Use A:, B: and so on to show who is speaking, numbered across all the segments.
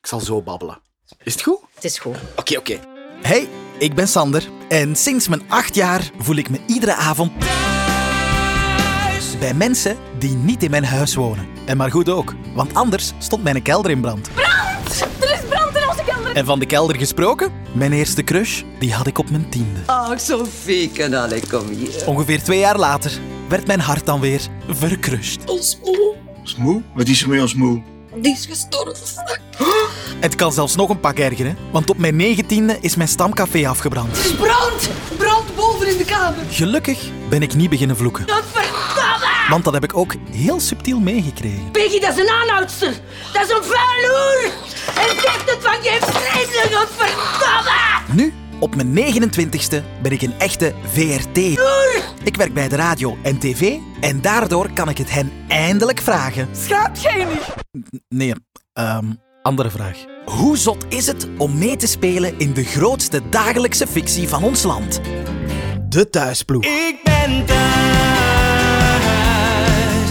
A: zal zo babbelen. Is het goed?
B: Het is goed.
A: Oké, oké.
C: Hey, ik ben Sander en sinds mijn acht jaar voel ik me iedere avond thuis bij mensen die niet in mijn huis wonen. En maar goed ook, want anders stond mijn kelder in brand.
D: Er is brand in onze kelder.
C: En van de kelder gesproken, mijn eerste crush, die had ik op mijn tiende.
E: Ach, Sophie, kan alle kom hier.
C: Ongeveer twee jaar later werd mijn hart dan weer verkrust.
D: Ons moe.
F: Ons moe? Wat is er met ons moe?
D: Die is gestorven.
C: Het kan zelfs nog een pak ergeren, want op mijn negentiende is mijn stamcafé afgebrand.
E: Er is brand! Brand boven in de kamer.
C: Gelukkig ben ik niet beginnen vloeken,
E: Dat verdamme!
C: want dat heb ik ook heel subtiel meegekregen.
E: Peggy, dat is een aanhoudster. Dat is een vuil hoer. En zegt het van je vreselijk, dat verdamme!
C: Nu, op mijn 29ste, ben ik een echte VRT. Ik werk bij de radio en tv en daardoor kan ik het hen eindelijk vragen.
E: Schaamt jij niet?
C: Nee, ehm, andere vraag. Hoe zot is het om mee te spelen in de grootste dagelijkse fictie van ons land?
A: De thuisploeg.
G: Ik ben thuis,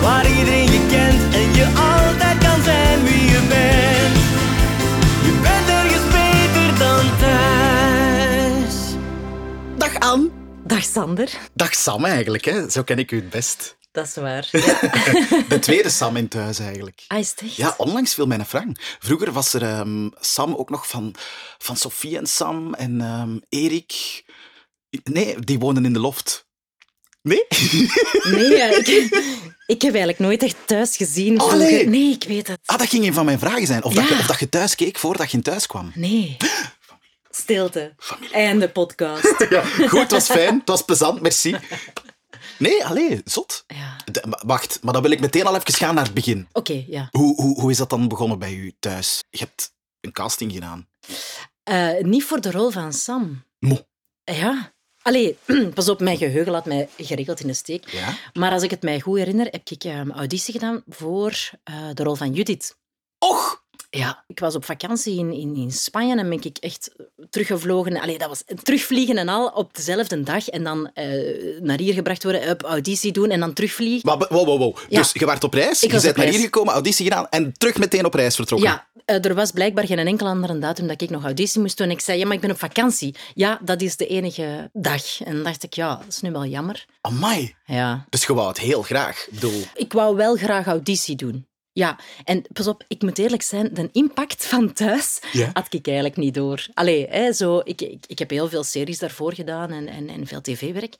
G: waar iedereen je kent en je altijd kan zijn wie je bent. Je bent ergens beter dan thuis.
A: Dag Anne.
B: Dag Sander.
A: Dag Sam eigenlijk, hè. Zo ken ik u het best.
B: Dat is waar. Ja.
A: De tweede Sam in thuis eigenlijk.
B: Ah, is het echt?
A: Ja, onlangs viel mij een Frank. Vroeger was er ehm, Sam ook nog van, van Sophie en Sam en ehm, Erik. Nee, die woonden in de loft. Nee?
B: Nee, ja, ik, ik heb eigenlijk nooit echt thuis gezien.
A: Oh,
B: vroeger.
A: nee.
B: nee, ik weet het.
A: Ah, dat ging een van mijn vragen zijn. Of, dat, je,
B: Ja.
A: of dat je thuis keek voordat je thuis kwam.
B: Nee. Stilte. Einde podcast.
A: Ja, goed, het was fijn. Het was plezant, merci. Nee, allee, zot.
B: Ja.
A: De- maar wacht, maar dan wil ik meteen al even gaan naar het begin.
B: Oké, ja.
A: Hoe, hoe, hoe is dat dan begonnen bij u thuis? Je hebt een casting gedaan.
B: Eh, niet voor de rol van Sam.
A: Moe.
B: Ja. Allee, pas op, mijn geheugen laat mij geregeld in de steek.
A: Ja?
B: Maar als ik het mij goed herinner, heb ik eh, auditie gedaan voor eh, de rol van Judith.
A: Och!
B: Ja, ik was op vakantie in, in, in Spanje en ben ik echt teruggevlogen. Allee, dat was terugvliegen en al op dezelfde dag. En dan eh, naar hier gebracht worden, op auditie doen en dan terugvliegen.
A: Maar, be- wow, wow, wow.
B: Ja.
A: Dus je werd op reis,
B: Ik
A: je
B: was
A: bent
B: op
A: naar
B: reis.
A: hier gekomen, auditie gedaan en terug meteen op reis vertrokken.
B: Ja, eh, er was blijkbaar geen enkele andere datum dat ik nog auditie moest doen. Ik zei, ja, maar ik ben op vakantie. Ja, dat is de enige dag. En dan dacht ik, ja, dat is nu wel jammer.
A: Amai.
B: Ja.
A: Dus je wou het heel graag. Ik bedoel,
B: Ik wou wel graag auditie doen. Ja, en pas op, ik moet eerlijk zijn, de impact van thuis
A: Ja.
B: had ik eigenlijk niet door. Allee, hè, zo, ik, ik, ik heb heel veel series daarvoor gedaan en, en, en veel tv-werk.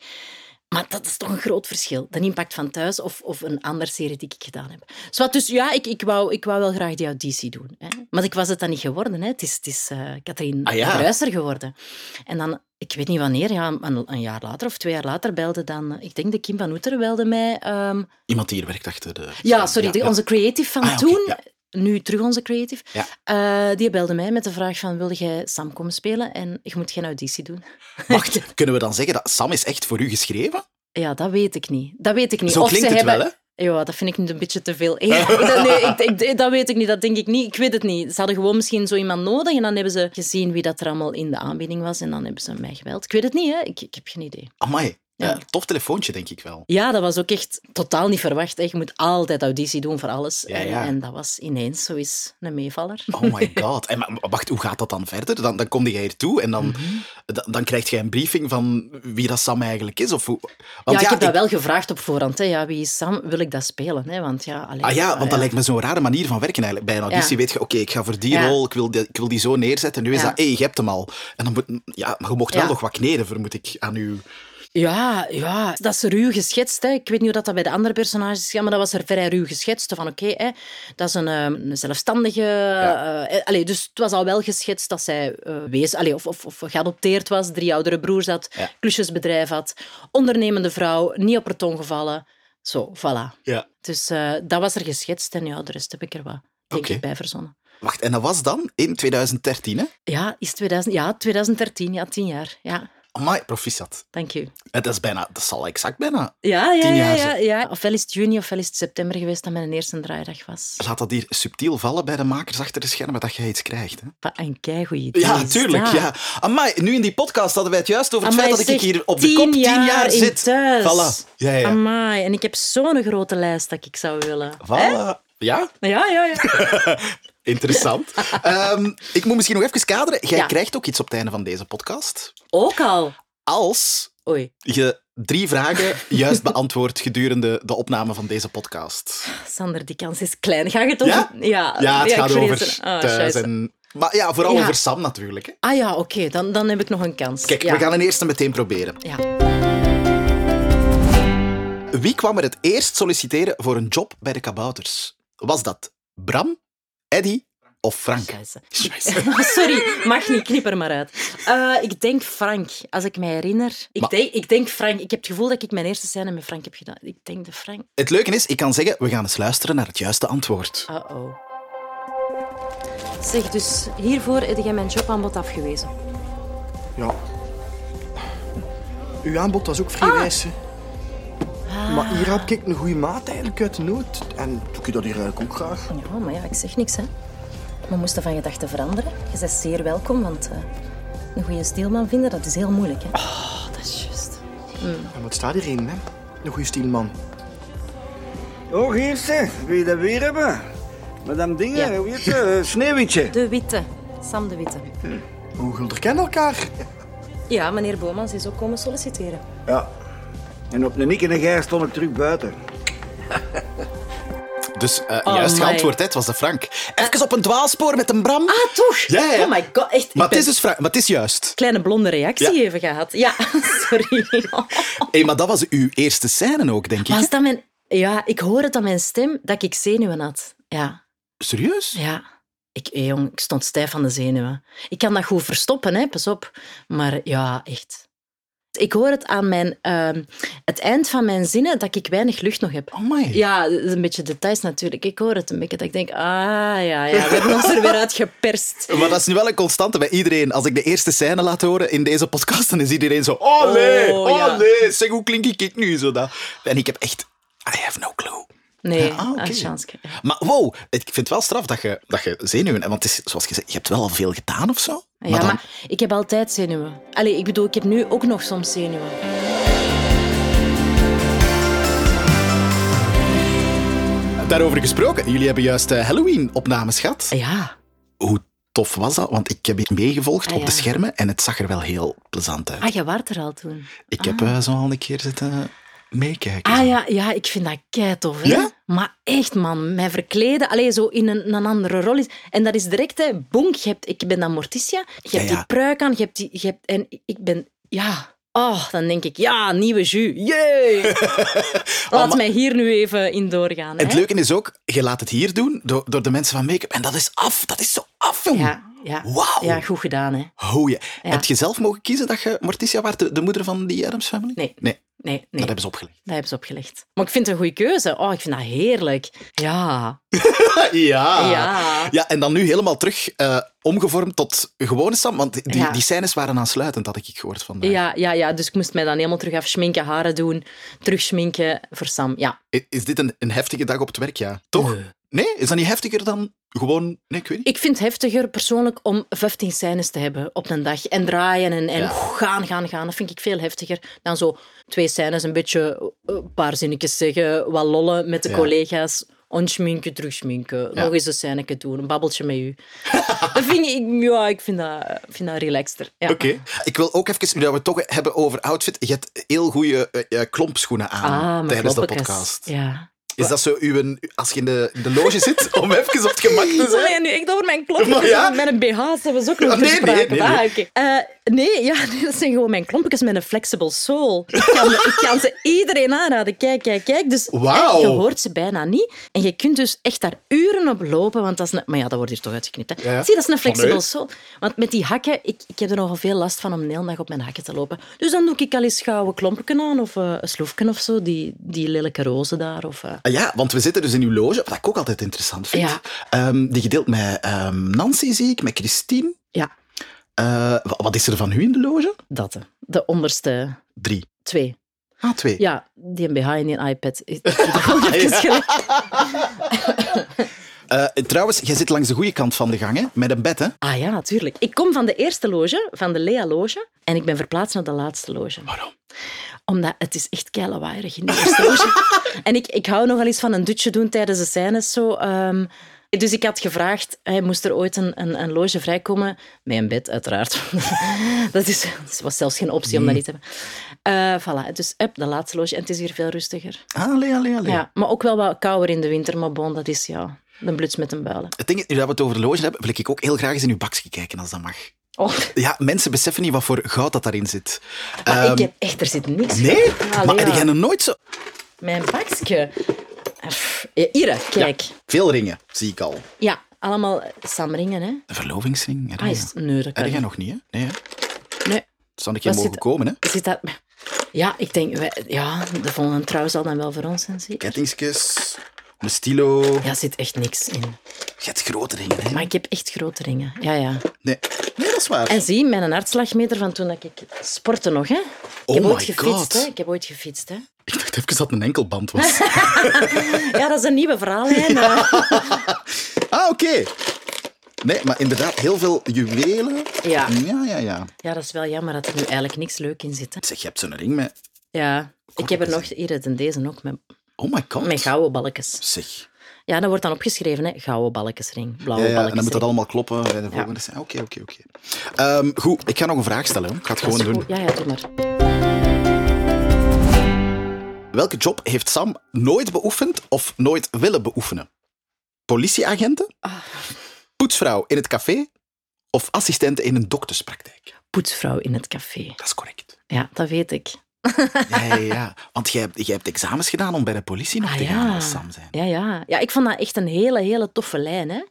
B: Maar dat is toch een groot verschil, de impact van thuis of, of een andere serie die ik gedaan heb. Zwat, dus ja, ik, ik, wou, ik wou wel graag die auditie doen. Hè. Maar ik was het dan niet geworden. Hè. Het is, het is eh Katrien
A: Ah, ja.
B: Ruister geworden. En dan, ik weet niet wanneer, ja, een, een jaar later of twee jaar later belde dan... eh, Ik denk de Kim van Oeter belde mij... ehm,
A: iemand die hier werkt achter de...
B: ja, sorry, de- onze creative van
A: Ah, ja, oké,
B: toen,
A: ja.
B: nu terug onze creative,
A: Ja.
B: eh, die belde mij met de vraag van, wil jij Sam komen spelen? En je moet geen auditie doen.
A: Wacht, kunnen we dan zeggen dat Sam is echt voor u geschreven?
B: Ja, dat weet ik niet. Dat weet ik niet.
A: Zo
B: of
A: klinkt
B: ze
A: het
B: hebben...
A: wel, hè?
B: Ja, dat vind ik nu een beetje te veel. eer. Dat- nee, ik, ik- dat weet ik niet, dat denk ik niet. Ik weet het niet. Ze hadden gewoon misschien zo iemand nodig en dan hebben ze gezien wie dat er allemaal in de aanbieding was en dan hebben ze mij geweld. Ik weet het niet, hè. Ik, ik heb geen idee.
A: Amai.
B: Ja.
A: Ja, tof telefoontje, denk ik wel.
B: Ja, dat was ook echt totaal niet verwacht. Hè. Je moet altijd auditie doen voor alles.
A: Ja,
B: En-
A: ja.
B: En, dat was ineens zo eens een meevaller.
A: Oh my god. En maar, wacht, hoe gaat dat dan verder? Dan, dan kom je hier toe en dan,
B: Mhm.
A: dan, dan krijg je een briefing van wie dat Sam eigenlijk is? Of hoe...
B: ja, ik heb dat wel gevraagd op voorhand. Hè. Ja, wie is Sam? Wil ik dat spelen? Hè? Want ja, allee,
A: Ah ja, want
B: ah,
A: dat lijkt me zo'n rare manier van werken eigenlijk. Bij een
B: Ja.
A: auditie weet je, oké, ik ga voor die
B: Ja.
A: rol, ik wil, die, ik wil die zo neerzetten. Nu is
B: Ja.
A: dat, hé, je hebt hem al. En dan moet, ja, maar je mocht wel
B: Ja.
A: nog wat kneden, vermoed ik, aan uw...
B: Ja, ja, dat is ruw geschetst. Hè. Ik weet niet hoe dat, dat bij de andere personages is, gegaan, maar dat was er vrij ruw geschetst. Van oké, hè, dat is een, ehm, een zelfstandige... eh, eh, allee, dus het was al wel geschetst dat zij eh, wees... Allee, of, of, of geadopteerd was, drie oudere broers had,
A: Ja.
B: klusjesbedrijf had, ondernemende vrouw, niet op haar tong gevallen. Zo, voilà.
A: Ja.
B: Dus eh, dat was er geschetst en ja, de rest heb ik er wat denk
A: Oké.
B: ik, bij verzonnen.
A: Wacht, en dat was dan in 2013, hè?
B: Ja, is 2000, ja, 2013, ja, tien jaar. Ja,
A: Amai, proficiat.
B: dank u.
A: Eh, Dat is bijna, dat zal exact bijna.
B: Ja, ja,
A: Tien
B: ja,
A: jaar,
B: ja, ja. Ofwel is het juni, ofwel is het september geweest dat mijn eerste draaidag was.
A: Laat dat hier subtiel vallen bij de makers achter de schermen, dat jij iets krijgt, hè?
B: Wat een keigoed idee.
A: Ja,
B: is
A: tuurlijk.
B: dat.
A: Ja. Amai, nu in die podcast hadden wij het juist over het
B: Amai,
A: feit dat ik
B: zeg,
A: hier op de kop tien jaar,
B: in
A: zit.
B: Thuis.
A: Voilà. Ja, ja.
B: Amai, en ik heb zo'n grote lijst dat ik zou willen.
A: Voilà. Ja?
B: Ja, ja, ja.
A: Interessant. Ehm, ik moet misschien nog even kaderen. Jij
B: Ja.
A: krijgt ook iets op het einde van deze podcast.
B: Ook al.
A: Als
B: Oei,
A: je drie vragen juist beantwoordt gedurende de opname van deze podcast.
B: Sander, die kans is klein. Ga je het over...
A: Ja?
B: Ja,
A: Ja, het
B: ik
A: gaat
B: vrees
A: over
B: het. Ah,
A: thuis
B: scheisse.
A: en... Maar ja, vooral
B: Ja.
A: over Sam natuurlijk. Hè.
B: Ah ja, oké, dan, dan heb ik nog een kans.
A: Kijk,
B: ja.
A: we gaan een eerste meteen proberen.
B: Ja.
A: Wie kwam er het eerst solliciteren voor een job bij de kabouters? Was dat Bram, Eddy of Frank?
B: Scheisse.
A: Scheisse.
B: Oh, Sorry, mag niet, knip er maar uit. Eh, ik denk Frank, als ik mij herinner. Ik,
A: Maar-
B: denk, ik denk Frank. Ik heb het gevoel dat ik mijn eerste scène met Frank heb gedaan. Ik denk de Frank.
A: Het leuke is, ik kan zeggen, we gaan eens luisteren naar het juiste antwoord.
B: Uh-oh. Zeg, dus hiervoor heb jij mijn jobaanbod afgewezen.
H: Ja. Uw aanbod was ook vrij wijs. hè. Maar hier had ik een goede maat eigenlijk uit de nood. En doe ik dat hier eigenlijk ook graag.
I: Ja, maar ja, ik zeg niks, hè. We moesten van gedachten veranderen. Je bent zeer welkom, want eh, een goede steelman vinden, dat is heel moeilijk, hè.
A: Oh,
H: En wat staat hierin, hè? Een goede stielman.
G: Oh, hier ze. Wil je dat weer hebben? Madame Dingen,
I: Ja.
G: hoe heet ze? Eh, Sneeuwwitje.
I: De Witte. Sam de Witte.
H: Hm. Hoe gulder kennen elkaar?
I: Ja, meneer Bomans is ook komen solliciteren.
G: Ja. En op een Nick en een Gij stond ik terug buiten.
A: Dus eh,
B: Oh
A: juist
B: my.
A: geantwoord, hè, het was de Frank. Even op een dwaalspoor met een Bram.
B: Ah, toch?
A: Ja, ja.
B: Oh my god, echt. ik
A: maar, het
B: ben-
A: is dus Frank, maar het is juist.
B: Kleine blonde reactie
A: Ja.
B: even gehad. Ja, sorry.
A: Hey, maar dat was uw eerste scène ook, denk ik.
B: Was dat mijn... Ja, ik hoor het aan mijn stem dat ik zenuwen had. Ja.
A: Serieus?
B: Ja. Ik, eh, jong, ik stond stijf van de zenuwen. Ik kan dat goed verstoppen, hè, pas op. Maar ja, echt. Ik hoor het aan mijn, ehm, het eind van mijn zinnen dat ik weinig lucht nog heb.
A: Oh my.
B: Ja, dat is een beetje details natuurlijk. Ik hoor het een beetje dat ik denk, ah ja, ja we hebben ons er weer uit geperst.
A: Maar dat is nu wel een constante bij iedereen. Als ik de eerste scène laat horen in deze podcast, dan is iedereen zo... Olé,
B: Oh, ja.
A: olé, zeg, hoe klink ik ik nu? Zo dat. En ik heb echt... I have no clue.
B: Nee,
A: Ah, oké.
B: een chance.
A: Maar wow, ik vind het wel straf dat je, dat je zenuwen... Want het is, zoals gezegd, je hebt wel al veel gedaan of zo.
B: Ja,
A: dan-
B: maar ik heb altijd zenuwen. Allee, ik bedoel, ik heb nu ook nog soms zenuwen.
A: Daarover gesproken, jullie hebben juist eh, Halloween-opnames gehad.
B: Ja.
A: Hoe tof was dat? Want ik heb het meegevolgd
B: Ah,
A: op de
B: ja.
A: schermen en het zag er wel heel plezant uit.
B: Ah, je waart er al toen.
A: Ik heb eh, zo al een keer zitten meekijken.
B: Ah ja, ja, ik vind dat kei tof. Hè?
A: Ja?
B: Maar echt, man, mij verkleden, alleen zo in een, een andere rol. Is. En dat is direct, hè, bonk. Je hebt, ik ben dan Morticia, je hebt
A: ja.
B: die pruik aan, je hebt die, je hebt, en ik ben, ja. Oh, dan denk ik, ja, nieuwe jus. Jee! Laat mij hier nu even in doorgaan.
A: Het
B: hè.
A: leuke is ook, je laat het hier doen door, door de mensen van make-up. En dat is af, dat is zo af, jong.
B: Ja, ja.
A: Wauw.
B: Ja, goed gedaan, hè.
A: Hoeje.
B: Ja.
A: Heb je zelf mogen kiezen dat je Morticia was, de, de moeder van die Adams Family?
B: Nee.
A: Nee,
B: Nee, nee.
A: dat hebben ze opgelegd.
B: Dat hebben ze opgelegd. Maar ik vind het een goede keuze. Oh, ik vind dat heerlijk. Ja.
A: Ah, Ja.
B: Ja.
A: Ja, en dan nu helemaal terug eh, omgevormd tot gewone Sam. Want die,
B: Ja.
A: die scènes waren aansluitend, had ik gehoord vandaag.
B: Ja, ja, ja, dus ik moest mij dan helemaal terug afschminken, haren doen, terug schminken voor Sam. Ja,
A: I- Is dit een, een heftige dag op het werk, ja? Toch? Nee? Is dat niet heftiger dan gewoon... Nee, ik weet niet.
B: Ik vind het heftiger persoonlijk om 15 scènes te hebben op een dag. En draaien en, en
A: Ja.
B: gaan, gaan, gaan. Dat vind ik veel heftiger dan zo twee scènes, een beetje eh, een paar zinnetjes zeggen, wat lollen met de
A: Ja.
B: collega's. Onschminken, terugschminken.
A: Ja.
B: Nog eens een scèneke doen, een babbeltje met u. dat vind ik, ja, ik vind dat, eh, vind dat relaxter. Ja.
A: Oké. Ik wil ook even, nu dat we het toch hebben over outfit, je hebt heel goede klompschoenen aan
B: Ah, mijn
A: tijdens de
B: kloppekes.
A: podcast.
B: Ja.
A: Is dat zo uw, als je in de, in de loge zit, om even op het gemak te
B: Zal
A: zijn?
B: jij nu echt over mijn klompjes?
A: Maar ja.
B: Met een BH's hebben ze ook nog
A: Ah, nee,
B: ter sprake.
A: nee, nee,
B: Ah, oké. Eh, nee, ja, nee, dat zijn gewoon mijn klompjes met een flexible soul. Ik kan, ik kan ze iedereen aanraden. Kijk, kijk, kijk. Dus
A: Wauw.
B: eh, je hoort ze bijna niet. En je kunt dus echt daar uren op lopen. Want dat is een, maar ja, dat wordt hier toch uitgeknipt. Hè?
A: Ja, ja.
B: Zie, dat is een flexible
A: nee.
B: soul. Want met die hakken, ik, ik heb er nogal veel last van om de hele dag op mijn hakken te lopen. Dus dan doe ik al eens gauw een klompje aan of eh, een sloefje of zo. Die, die lelijke rozen daar. Of, eh,
A: Ah Ja, want we zitten dus in uw loge, wat ik ook altijd interessant vind.
B: Ja.
A: Ehm, die gedeeld met ehm, Nancy, zie ik, met Christine.
B: ja,
A: Eh, wa- wat is er van u in de loge?
B: dat. hè. De onderste
A: Drie.
B: twee.
A: Ah, twee.
B: Ja, die MBH en die iPad. Ik heb er gewoon even gelegd.
A: Eh, trouwens, jij zit langs de goede kant van de gang, hè? Met een bed, hè?
B: Ah ja, natuurlijk. Ik kom van de eerste loge, van de Lea loge, en ik ben verplaatst naar de laatste loge.
A: Waarom?
B: Omdat het is echt keilawaaierig in de eerste loge. en ik, ik hou nogal eens van een dutje doen tijdens de scènes. Zo, ehm, Dus ik had gevraagd, hè, moest er ooit een, een, een loge vrijkomen? Met een bed, uiteraard. dat, is, dat was zelfs geen optie om dat niet te hebben. Eh, voilà, dus heb de laatste loge. En het is hier veel rustiger.
A: Ah, allee, allee, allee.
B: Ja, maar ook wel wat kouder in de winter. Maar bon, dat is ja, een bluts met een builen.
A: Het ding is, nu dat we het over de loge hebben, wil ik ook heel graag eens in uw bakje kijken, als dat mag.
B: Oh,
A: Ja, mensen beseffen niet wat voor goud dat daarin zit.
B: maar
A: Ehm,
B: ik heb echt, er zit niks.
A: Nee?
B: Allee,
A: maar
B: ja.
A: die gaan nooit zo...
B: Mijn bakje. Pff, ja, Hier, kijk. Ja,
A: Veel ringen, zie ik al.
B: allemaal samringen, hè.
A: Een verlovingsring.
B: Ah, is het- nee, dat kan
A: Heb jij
B: niet.
A: nog niet, hè? Nee, hè?
B: Nee.
A: Zou ik je
B: Wat
A: mogen
B: zit-
A: komen, hè?
B: Zit dat... Ja, ik denk... wij- Ja, de volgende trouw zal dan wel voor ons zijn, zeker?
A: Kettingskes, een stilo.
B: Ja, er zit echt niks in.
A: Je hebt grote ringen, hè?
B: Maar ik heb echt grote ringen. Ja, ja.
A: Nee. nee, dat is waar.
B: En zie, mijn hartslagmeter van toen dat ik sportte nog, hè. Ik
A: Oh
B: heb
A: my
B: ooit gefietst,
A: God.
B: hè. Ik heb ooit gefietst, hè.
A: Ik dacht even dat het een enkelband was.
B: Ja, dat is een nieuwe verhaallijn. Ja.
A: ah, oké. Nee, maar inderdaad, heel veel juwelen.
B: Ja.
A: Ja, ja, ja.
B: ja, dat is wel jammer dat er nu eigenlijk niks leuk in zit, hè.
A: Zeg, je hebt zo'n ring met...
B: Ja. Ik heb er nog... Hier, het en deze ook, met,
A: Oh my god.
B: met gouden balkjes.
A: Zeg.
B: Ja, dat wordt dan opgeschreven, hè. Gouden balkjesring, blauwe
A: Ja, ja, en dan
B: balkjesring.
A: moet dat allemaal kloppen bij de volgende scène. Oké, oké, oké. Ehm, goed, ik ga nog een vraag stellen. hoor. Ik ga het
B: Dat
A: gewoon
B: is goed.
A: doen.
B: Ja, ja, doe maar.
A: Welke job heeft Sam nooit beoefend of nooit willen beoefenen? Politieagenten?
B: Ah.
A: Poetsvrouw in het café? Of assistente in een dokterspraktijk?
B: Poetsvrouw in het café.
A: Dat is correct.
B: Ja, dat weet ik.
A: Ja, ja, ja. Want jij, hebt- jij hebt examens gedaan om bij de politie nog
B: Ah,
A: te
B: ja.
A: gaan als Sam zijn.
B: Ja, ja. ja, ik vond dat echt een hele, hele toffe lijn. Hè?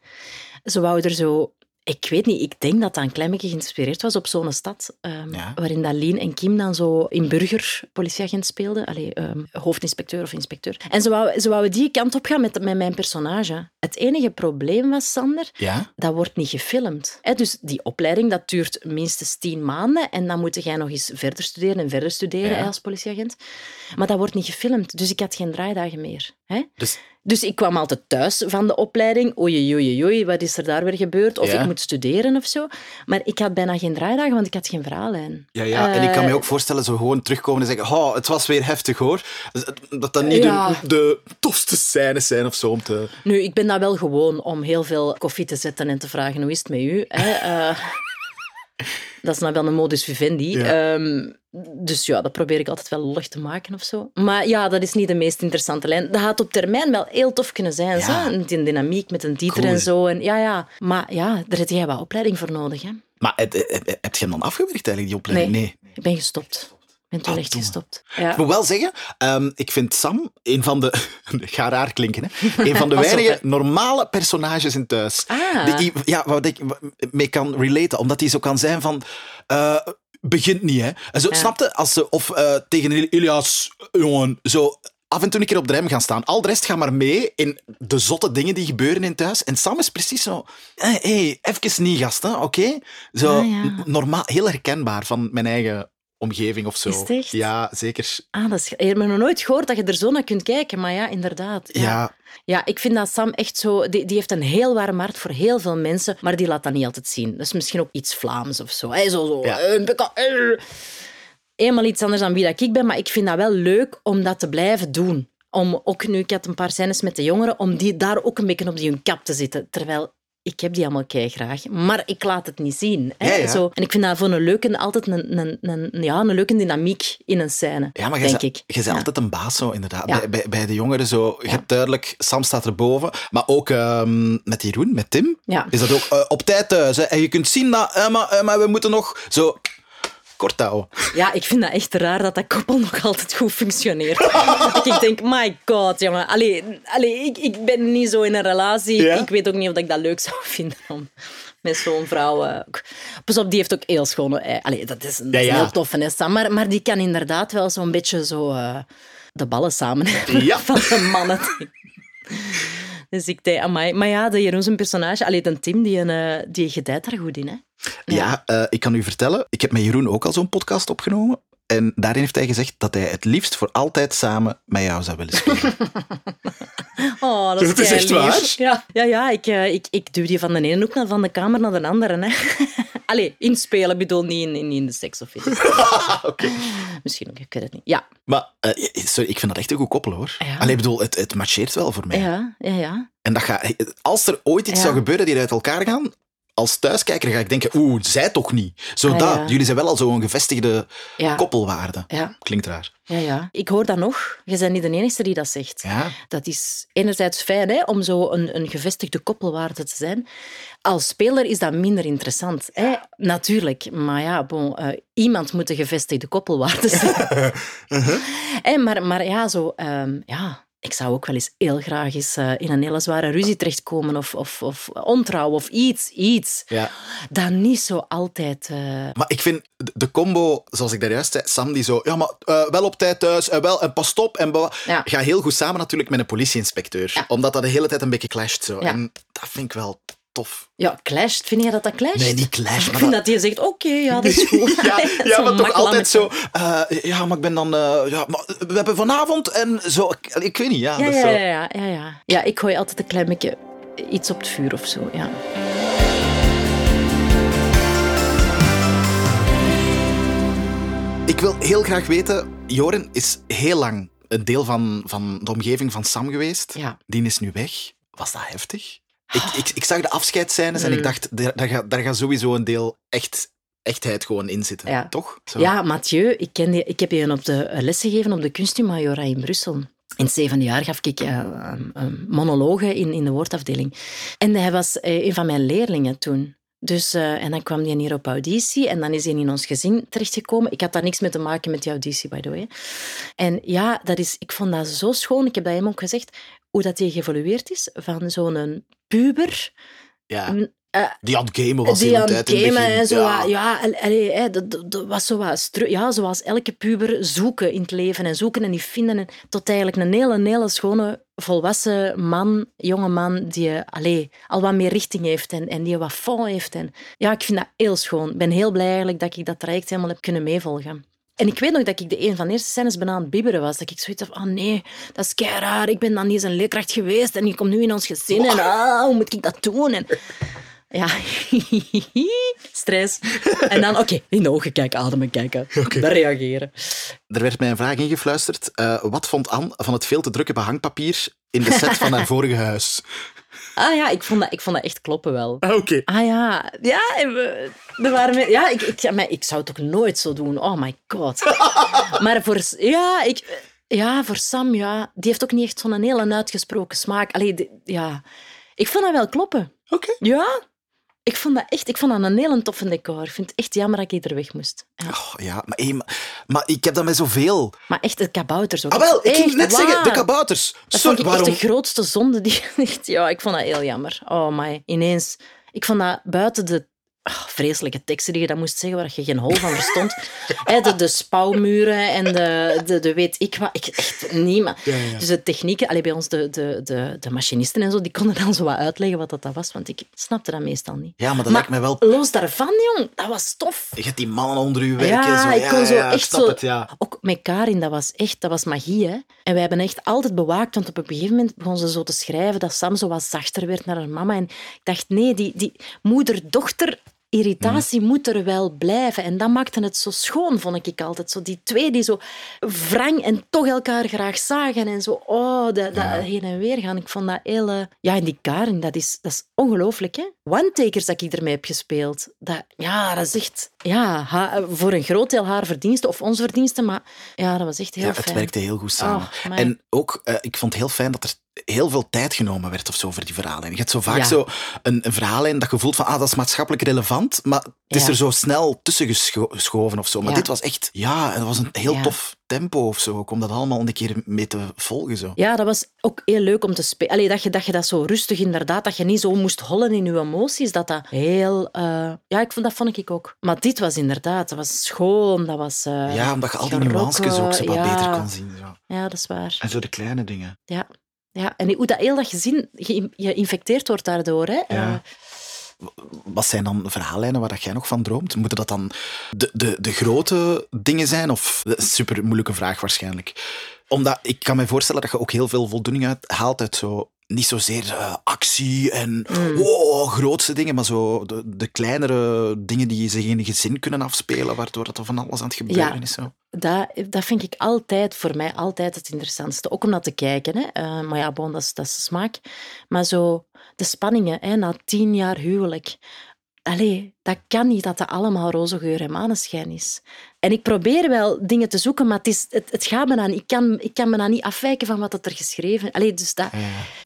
B: Ze wou er zo... Ik weet niet, ik denk dat dat een klein beetje geïnspireerd was op zo'n stad, ehm,
A: Ja.
B: waarin dat Lien en Kim dan zo in burger politieagent speelden. Allee, ehm, hoofdinspecteur of inspecteur. En ze wou, ze wou die kant op gaan met, met mijn personage. Het enige probleem was, Sander,
A: Ja?
B: dat wordt niet gefilmd. Hè, dus die opleiding dat duurt minstens tien maanden en dan moet jij nog eens verder studeren en verder studeren
A: Ja.
B: hè, als politieagent. Maar dat wordt niet gefilmd, dus ik had geen draaidagen meer. Hè?
A: Dus
B: Dus ik kwam altijd thuis van de opleiding. Oei, oei, oei, oei, wat is er daar weer gebeurd? Of
A: Ja.
B: ik moet studeren of zo. Maar ik had bijna geen draaidagen, want ik had geen verhaallijn.
A: Ja, ja, en ik kan
B: Eh,
A: me ook voorstellen, zo gewoon terugkomen en zeggen, oh, het was weer heftig hoor. Dat dat niet
B: Ja.
A: de, de tofste scènes zijn of zo om te...
B: Nu, ik ben dat wel gewoon om heel veel koffie te zetten en te vragen hoe is het met u. Hè? Eh, dat is nou wel een modus vivendi.
A: Ja.
B: Ehm, dus ja, dat probeer ik altijd wel lollig te maken of zo. Maar ja, dat is niet de meest interessante lijn. Dat had op termijn wel heel tof kunnen zijn.
A: Ja.
B: Zo. Met die dynamiek met een dieter
A: Cool.
B: en zo. En, ja, ja. Maar ja, daar heb jij wel opleiding voor nodig. Hè?
A: Maar heb, heb, heb je hem dan afgewerkt eigenlijk, die opleiding?
B: Nee. Ik ben gestopt. Ik ben toen
A: Ah,
B: echt
A: domme.
B: gestopt. Ja.
A: Ik moet wel zeggen, ehm, ik vind Sam een van de. ga raar klinken, hè? Een van de
B: Pas op,
A: weinige
B: hè.
A: normale personages in thuis.
B: Ah.
A: Die, ja, waar ik mee kan relaten, omdat hij zo kan zijn van. eh, begint niet, hè? En zo,
B: Ja.
A: snapte als ze. Of eh, tegen Il- Ilias, jongen, zo. Af en toe een keer op de rem gaan staan. Al de rest gaat maar mee in de zotte dingen die gebeuren in thuis. En Sam is precies zo. Hé, hey, even niet, gasten, oké? Zo
B: Ah, ja.
A: n- normaal, heel herkenbaar van mijn eigen omgeving of zo.
B: Is het echt?
A: Ja, zeker.
B: Ah, dat is... Ik heb nog nooit gehoord dat je er zo naar kunt kijken, maar ja, inderdaad.
A: Ja,
B: Ja, ik vind dat Sam echt zo... Die, die heeft een heel warm hart voor heel veel mensen, maar die laat dat niet altijd zien. Dat is misschien ook iets Vlaams of zo. Hè? Zo, zo.
A: Ja.
B: eh, beka- eh. Eenmaal iets anders dan wie dat ik ben, maar ik vind dat wel leuk om dat te blijven doen. Om ook nu, ik had een paar scènes met de jongeren, om die daar ook een beetje op die hun kap te zitten. Terwijl, ik heb die allemaal graag, maar ik laat het niet zien. Hè?
A: Ja, ja.
B: Zo. En ik vind dat voor een leuke, altijd een, een, een, ja, een leuke dynamiek in een scène,
A: ja maar je
B: denk
A: bent
B: ik.
A: je bent
B: Ja.
A: altijd een baas zo, inderdaad.
B: Ja.
A: Bij, bij, bij de jongeren zo, je hebt duidelijk, Sam staat erboven. Maar ook ehm, met Jeroen, met Tim,
B: Ja.
A: is dat ook eh, op tijd thuis. Hè? En je kunt zien dat, eh, maar, eh, maar we moeten nog zo kort houden.
B: Ja, ik vind dat echt raar dat dat koppel nog altijd goed functioneert. dat ik denk, my god, jongen. Allee, allee ik, ik ben niet zo in een relatie.
A: Ja?
B: Ik weet ook niet of ik dat leuk zou vinden om met zo'n vrouw... eh, k- Pas op, die heeft ook heel schone... ei- Allee, dat is een, dat is
A: Ja,
B: een
A: ja.
B: heel toffe, hè, Sam. Maar, maar die kan inderdaad wel zo'n beetje zo eh, de ballen samen hebben
A: Ja.
B: van de mannen. Dus ik denk, amai. Maar ja, de Jeroen zijn personage... Allee, de Tim, die, een, eh, die gedijt daar goed in, hè.
A: Ja, eh, ik kan u vertellen, ik heb met Jeroen ook al zo'n podcast opgenomen. En daarin heeft hij gezegd dat hij het liefst voor altijd samen met jou zou willen spelen.
B: Oh, dat is,
A: Dat is echt
B: keilief.
A: waar?
B: Ja, ja, ja ik, eh, ik, ik duw die van de ene hoek naar van de kamer naar de andere. Hè. Allee, inspelen bedoel, niet in, in, in de seks of iets. Misschien ook, ik weet het niet. Ja,
A: Maar eh, sorry, ik vind dat echt een goed koppelen hoor.
B: Ja.
A: Alleen bedoel, het, het matcheert wel voor mij.
B: ja, ja, ja.
A: En dat ga, als er ooit iets
B: Ja.
A: zou gebeuren die uit elkaar gaan, als thuiskijker ga ik denken, oeh, zij toch niet. Zo
B: Ah,
A: dat.
B: ja.
A: Jullie zijn wel al zo'n gevestigde
B: Ja.
A: koppelwaarde.
B: Ja,
A: Klinkt raar.
B: ja, ja. Ik hoor dat nog. Je bent niet de enige die dat zegt.
A: Ja.
B: Dat is enerzijds fijn hè, om zo een, een gevestigde koppelwaarde te zijn. Als speler is dat minder interessant. Hè? Natuurlijk. Maar ja, bon, eh, iemand moet de gevestigde koppelwaarde zijn.
A: Uh-huh.
B: Hè, maar, maar ja, zo, ehm, ja, ik zou ook wel eens heel graag eens eh, in een hele zware ruzie terechtkomen. Of, of, of ontrouw of iets. iets.
A: Ja.
B: Dat niet zo altijd... eh,
A: Maar ik vind de- de combo, zoals ik daar juist zei, Sam die zo, ja, maar eh, wel op tijd thuis en wel en pas op en bewa-
B: Ja.
A: gaat heel goed samen natuurlijk met een politieinspecteur. Omdat dat de hele tijd een beetje clasht zo.
B: Ja.
A: En dat vind ik wel tof.
B: Ja, clasht. Vind jij dat dat clasht?
A: Nee, niet clash,
B: Ik
A: maar
B: vind
A: dat-
B: dat hij zegt, oké, ja, dat is goed.
A: Ja,
B: Zo'n
A: ja maar toch
B: makkelammetje.
A: altijd zo. eh, ja, maar ik ben dan. eh, ja, maar we hebben vanavond en zo. Ik, ik weet niet, ja.
B: Ja,
A: Ah, dat
B: ja,
A: is zo.
B: ja, ja, ja, ja. Ja, ik gooi altijd een klein beetje iets op het vuur of zo, ja.
A: Ik wil heel graag weten. Joren is heel lang een deel van, van de omgeving van Sam geweest.
B: Ja. Ah.
A: Die is nu weg. Was dat heftig? Ik, ik, ik zag de afscheidscènes en ik
B: Mm.
A: dacht, daar, daar, gaat, daar gaat sowieso een deel echt, echtheid gewoon in zitten.
B: Ja.
A: Toch? Zo.
B: Ja, Mathieu, ik, ken die, ik heb je op de eh, les gegeven op de kunstmajora in Brussel. In het zevende jaar gaf ik eh, um, um, monologen in, in de woordafdeling. En hij was eh, een van mijn leerlingen toen. Dus, eh, en dan kwam hij hier op auditie en dan is hij in ons gezin terechtgekomen. Ik had daar niks mee te maken met die auditie, by the way. En ja, dat is, ik vond dat zo schoon. Ik heb dat hem ook gezegd, hoe dat hij geëvolueerd is van zo'n puber
A: Ja.
B: Mm, eh,
A: die aan het gamen was
B: die
A: heel
B: aan
A: de
B: het
A: tijd in het
B: gamen
A: begin.
B: en zo.
A: Ja.
B: Ja, al- allee, hè, dat, dat, dat was zo wat stru- ja, zoals elke puber zoeken in het leven en zoeken en die vinden. En, tot eigenlijk een hele, hele schone, volwassen man, jonge man, die eh, allee, al wat meer richting heeft en, en die wat fond heeft. En, ja, ik vind dat heel schoon. Ik ben heel blij eigenlijk dat ik dat traject helemaal heb kunnen meevolgen. En ik weet nog dat ik de een van de eerste scènes bijna aan het bibberen was. Dat ik zoiets had van, oh nee, dat is kei raar. Ik ben dan niet eens een leerkracht geweest en je komt nu in ons gezin. En ah, hoe moet ik dat doen? En, ja, stress. En dan, oké, in de ogen kijken, ademen kijken. Dan reageren.
A: Er werd mij een vraag ingefluisterd. Eh, wat vond Anne van het veel te drukke behangpapier in de set van haar vorige huis?
B: Ah ja, ik vond dat, ik vond dat echt kloppen wel.
A: Ah, Oké.
B: Ah ja, ja, en we, er waren me- ja ik, ik, ja, maar ik zou het ook nooit zo doen. Oh my god. Maar voor, S- ja, ik, ja, voor Sam, ja, die heeft ook niet echt zo'n hele uitgesproken smaak. Allee, die- ja, ik vond dat wel kloppen.
A: Oké.
B: Ja, ik vond dat echt, ik vond dat een hele toffe decor. Ik vind het echt jammer dat ik er weg moest. Ja.
A: Oh, ja, maar, hé, maar, maar ik heb dat met zoveel.
B: Maar echt, de kabouters ook.
A: Ah, wel, ik ging
B: Echt
A: net zeggen, de
B: waar.
A: kabouters.
B: Dat
A: Sorry,
B: vond ik
A: waarom?
B: echt de grootste zonde. Die... ja, ik vond dat heel jammer. Oh my, ineens. Ik vond dat buiten de ah, vreselijke teksten die je dan moest zeggen, waar je geen hol van verstond. Hè, de, de spouwmuren en de, de, de weet ik wat. Ik, echt niemand. Dus de technieken, allee, bij ons de, de, de, de machinisten en zo, die konden dan zo wat uitleggen wat dat dan was, want ik snapte dat meestal niet.
A: Ja, maar dat lijkt mij wel...
B: Los daarvan, jong, dat was tof.
A: Je hebt die mannen onder je werken.
B: Ja,
A: zo.
B: ik kon zo
A: ja, ik
B: echt
A: snap
B: zo-
A: Het, ja.
B: Ook met Karin, dat was echt dat was magie. Hè? En wij hebben echt altijd bewaakt, want op een gegeven moment begon ze zo te schrijven dat Sam zo wat zachter werd naar haar mama. En ik dacht, nee, die, die moeder-dochter... Irritatie
A: Mm.
B: moet er wel blijven. En dat maakte het zo schoon, vond ik altijd. Zo die twee die zo wrang en toch elkaar graag zagen. En zo, oh, dat, dat heen en weer gaan. Ik vond dat heel... eh, Ja, en die Karin, dat is, dat is ongelooflijk, hè? One-takers dat ik ermee heb gespeeld. Dat, ja, dat is echt... Ja, ha- voor een groot deel haar verdiensten of ons verdiensten, maar ja, dat was echt heel
A: Ja,
B: fijn.
A: het werkte heel goed samen.
B: Oh, amai.
A: en ook, eh, ik vond het heel fijn dat er heel veel tijd genomen werd of zo voor die verhalen. Je hebt zo vaak
B: Ja.
A: zo een, een verhaal en dat je voelt van, ah, dat is maatschappelijk relevant, maar het is
B: Ja.
A: er zo snel tussen gescho- geschoven of zo. Maar
B: Ja.
A: dit was echt, ja, en dat was een heel
B: Ja.
A: tof tempo of zo, ook om dat allemaal een keer mee te volgen. Zo.
B: Ja, dat was ook heel leuk om te spelen. Allee, dat je, dat je dat zo rustig inderdaad, dat je niet zo moest hollen in je emoties, dat dat heel... eh, Ja, ik vond, dat vond ik ook. Maar dit was inderdaad, dat was schoon, dat was... eh,
A: Ja, omdat je al die
B: gerokken,
A: nuances ook zo wat
B: ja.
A: beter kon zien. Zo.
B: Ja, dat is waar.
A: En zo de kleine dingen.
B: Ja, en hoe dat heel dat gezin geïn- geïnfecteerd wordt daardoor. Hè? Eh,
A: Wat zijn dan verhaallijnen waar dat jij nog van droomt? Moeten dat dan de, de, de grote dingen zijn? Of super moeilijke vraag waarschijnlijk. Omdat ik kan me voorstellen dat je ook heel veel voldoening uit, haalt uit zo niet zozeer eh, actie en
B: Mm.
A: wow, grootste dingen, maar zo de, de kleinere dingen die zich in je gezin kunnen afspelen, waardoor dat er van alles aan het gebeuren
B: Ja.
A: is. Zo.
B: Dat, dat vind ik altijd, voor mij altijd het interessantste. Ook om naar te kijken. Hè. Eh, maar ja, bon, dat, is, dat is smaak. Maar zo, de spanningen hè, na tien jaar huwelijk. Allee, dat kan niet dat dat allemaal roze geur en maneschijn is. En ik probeer wel dingen te zoeken, maar het, is, het, het gaat me dan. Ik kan, ik kan me dan niet afwijken van wat dat er geschreven is. Allee, dus dat...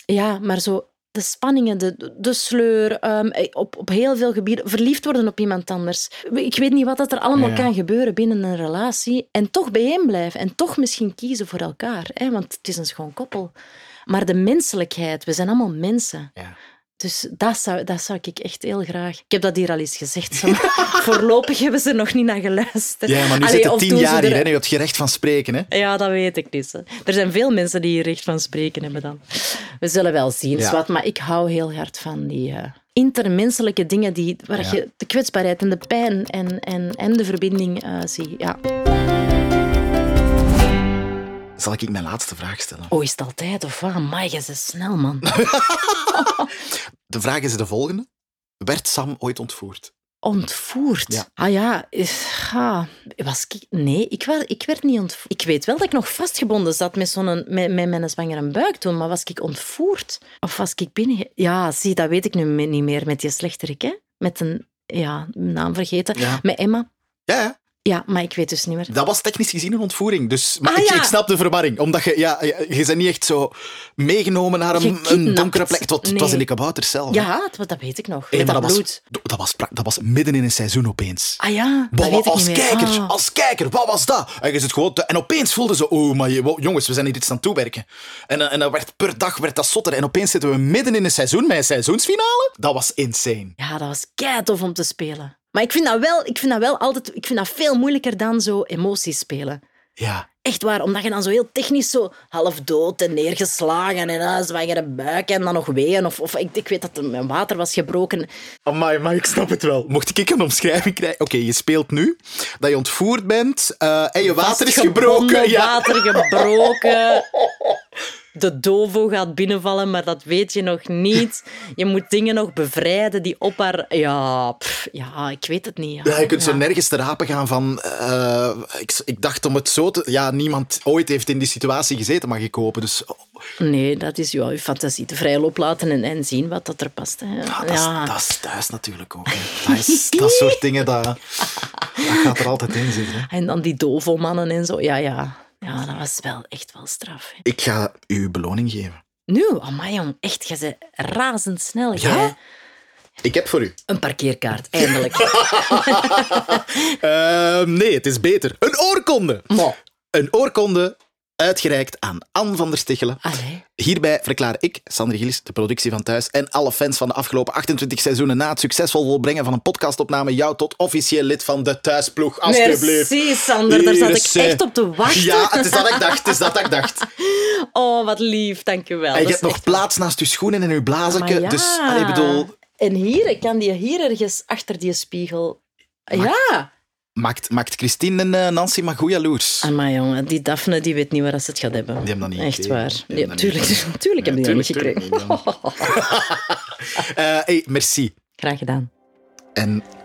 B: Ja, maar zo de spanningen, de, de sleur, ehm, op, op heel veel gebieden. Verliefd worden op iemand anders. Ik weet niet wat dat er allemaal
A: Ja.
B: kan gebeuren binnen een relatie. En toch bijeen blijven. En toch misschien kiezen voor elkaar. Hè? Want het is een schoon koppel. Maar de menselijkheid, we zijn allemaal mensen.
A: Ja.
B: Dus dat zou, dat zou ik echt heel graag... Ik heb dat hier al eens gezegd. Zo. Voorlopig hebben ze er nog niet naar geluisterd.
A: Ja, maar nu
B: Allee,
A: zitten
B: of
A: tien
B: doen ze
A: jaar
B: er-
A: hier, hè? nu heb je recht van spreken. Hè?
B: ja, dat weet ik niet. hè. Er zijn veel mensen die hier recht van spreken hebben dan. We zullen wel zien,
A: Ja.
B: zwart. Maar ik hou heel hard van die eh, intermenselijke dingen die, waar
A: Ja.
B: je de kwetsbaarheid en de pijn en, en, en de verbinding eh zie. Ja.
A: Zal ik mijn laatste vraag stellen?
B: Oh, is het altijd of wat? Amai, je bent snel, man.
A: De vraag is de volgende. Werd Sam ooit ontvoerd?
B: Ontvoerd?
A: Ja.
B: Ah ja, is- ha. was ik... Nee, ik, wa- ik werd niet ontvoerd. Ik weet wel dat ik nog vastgebonden zat met, zo'n, met, met mijn zwangere buik toen, maar was ik ontvoerd? Of was ik binnen... Ja, zie, dat weet ik nu me- niet meer met die slechterik, hè? Met een... Ja, naam vergeten.
A: Ja.
B: Met Emma.
A: Ja, ja.
B: Ja, maar ik weet dus niet meer.
A: dat was technisch gezien een ontvoering. Dus, maar
B: Ah,
A: ik,
B: ja.
A: ik snap de verwarring. Omdat je, ja, je, je bent niet echt zo meegenomen naar een,
B: Gekidnapt.
A: een donkere plek. Het, was- het was
B: Nee.
A: in de kabouters zelf. hè.
B: Ja, het- dat weet ik nog.
A: Hey,
B: met
A: maar
B: dat
A: Oh. dat,
B: bloed.
A: was, dat, was, pra- dat was midden in een seizoen opeens.
B: Ah ja, dat
A: Bah,
B: weet ik
A: als
B: niet meer.
A: kijker,
B: Ah.
A: als kijker, wat was dat? En, je zit gewoon te- en opeens voelden ze, oh, maar je- wow, jongens, we zijn hier iets aan het toewerken. En, eh, en dat werd, per dag werd dat zotter. En opeens zitten we midden in een seizoen met een seizoensfinale. Dat was insane.
B: Ja, dat was kei tof om te spelen. Maar ik vind dat wel, ik vind dat wel altijd... Ik vind dat veel moeilijker dan zo emoties spelen.
A: Ja.
B: Echt waar, omdat je dan zo heel technisch zo half dood en neergeslagen en eh, een zwangere buik en dan nog weeën. Of, of ik, ik weet dat er mijn water was gebroken.
A: Amai, maar ik snap het wel. Mocht ik een omschrijving krijgen... Oké, je speelt nu dat je ontvoerd bent eh, en je water is gebroken.
B: Vastgebonden,
A: Ja.
B: Water gebroken. De dovo gaat binnenvallen, maar dat weet je nog niet. Je moet dingen nog bevrijden die op haar... Ja, pff, ja ik weet het niet. Ja.
A: Ja, je kunt zo
B: Ja.
A: nergens te rapen gaan van... eh, ik, ik dacht om het zo te... Ja, niemand ooit heeft in die situatie gezeten, mag ik hopen. Dus
B: Nee, dat is ja, je fantasie te vrij loop laten en, en zien wat dat er past. Hè.
A: Ah, dat,
B: ja.
A: is, dat is thuis natuurlijk ook. hè. Dat, is, dat soort dingen, dat, dat gaat er altijd in zitten. hè.
B: En dan die dovo-mannen en zo. Ja, ja. Ja, dat was wel echt wel straf. hè.
A: Ik ga u beloning geven.
B: Nu, amai jong, echt, jij bent razendsnel.
A: Ja?
B: jij.
A: Ik heb voor u.
B: Een parkeerkaart, eindelijk.
A: Ehm, nee, het is beter. Een oorkonde. Een oorkonde uitgereikt aan Anne van der Stichelen.
B: Allee.
A: Hierbij verklaar ik, Sander Gillis, de productie van Thuis en alle fans van de afgelopen 28 seizoenen na het succesvol volbrengen van een podcastopname jou tot officieel lid van de Thuisploeg. Alsjeblieft.
B: Merci, Sander. Daar
A: Hier
B: zat
A: is
B: ik
A: ze.
B: echt op te wachten.
A: Ja, het is dat ik dacht. Het is dat ik dacht.
B: Oh, wat lief, dankjewel.
A: En
B: Dat
A: je
B: is
A: hebt nog
B: echt-
A: plaats naast je schoenen en je
B: Maar
A: blazerke.
B: ja.
A: Dus, allee, ik bedoel,
B: En hier, ik kan die hier ergens achter die spiegel... Ja.
A: maakt, maakt Christine en eh, Nancy maar goed jaloers.
B: Maar jongen, die Daphne die weet niet waar ze het gaat hebben.
A: hebben dat niet
B: Echt
A: gekregen.
B: waar.
A: Die hebben
B: Nee,
A: dat niet
B: tuurlijk, tuurlijk hebben die dat niet gekregen.
A: Eh, hey, merci.
B: Graag gedaan.
A: En